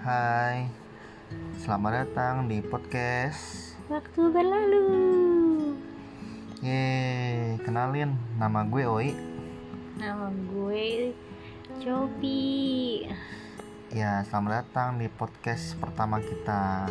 hai Selamat datang di podcast Waktu berlalu. Yeay, kenalin nama gue Oi Nama gue Chopi. Ya, selamat datang di podcast pertama kita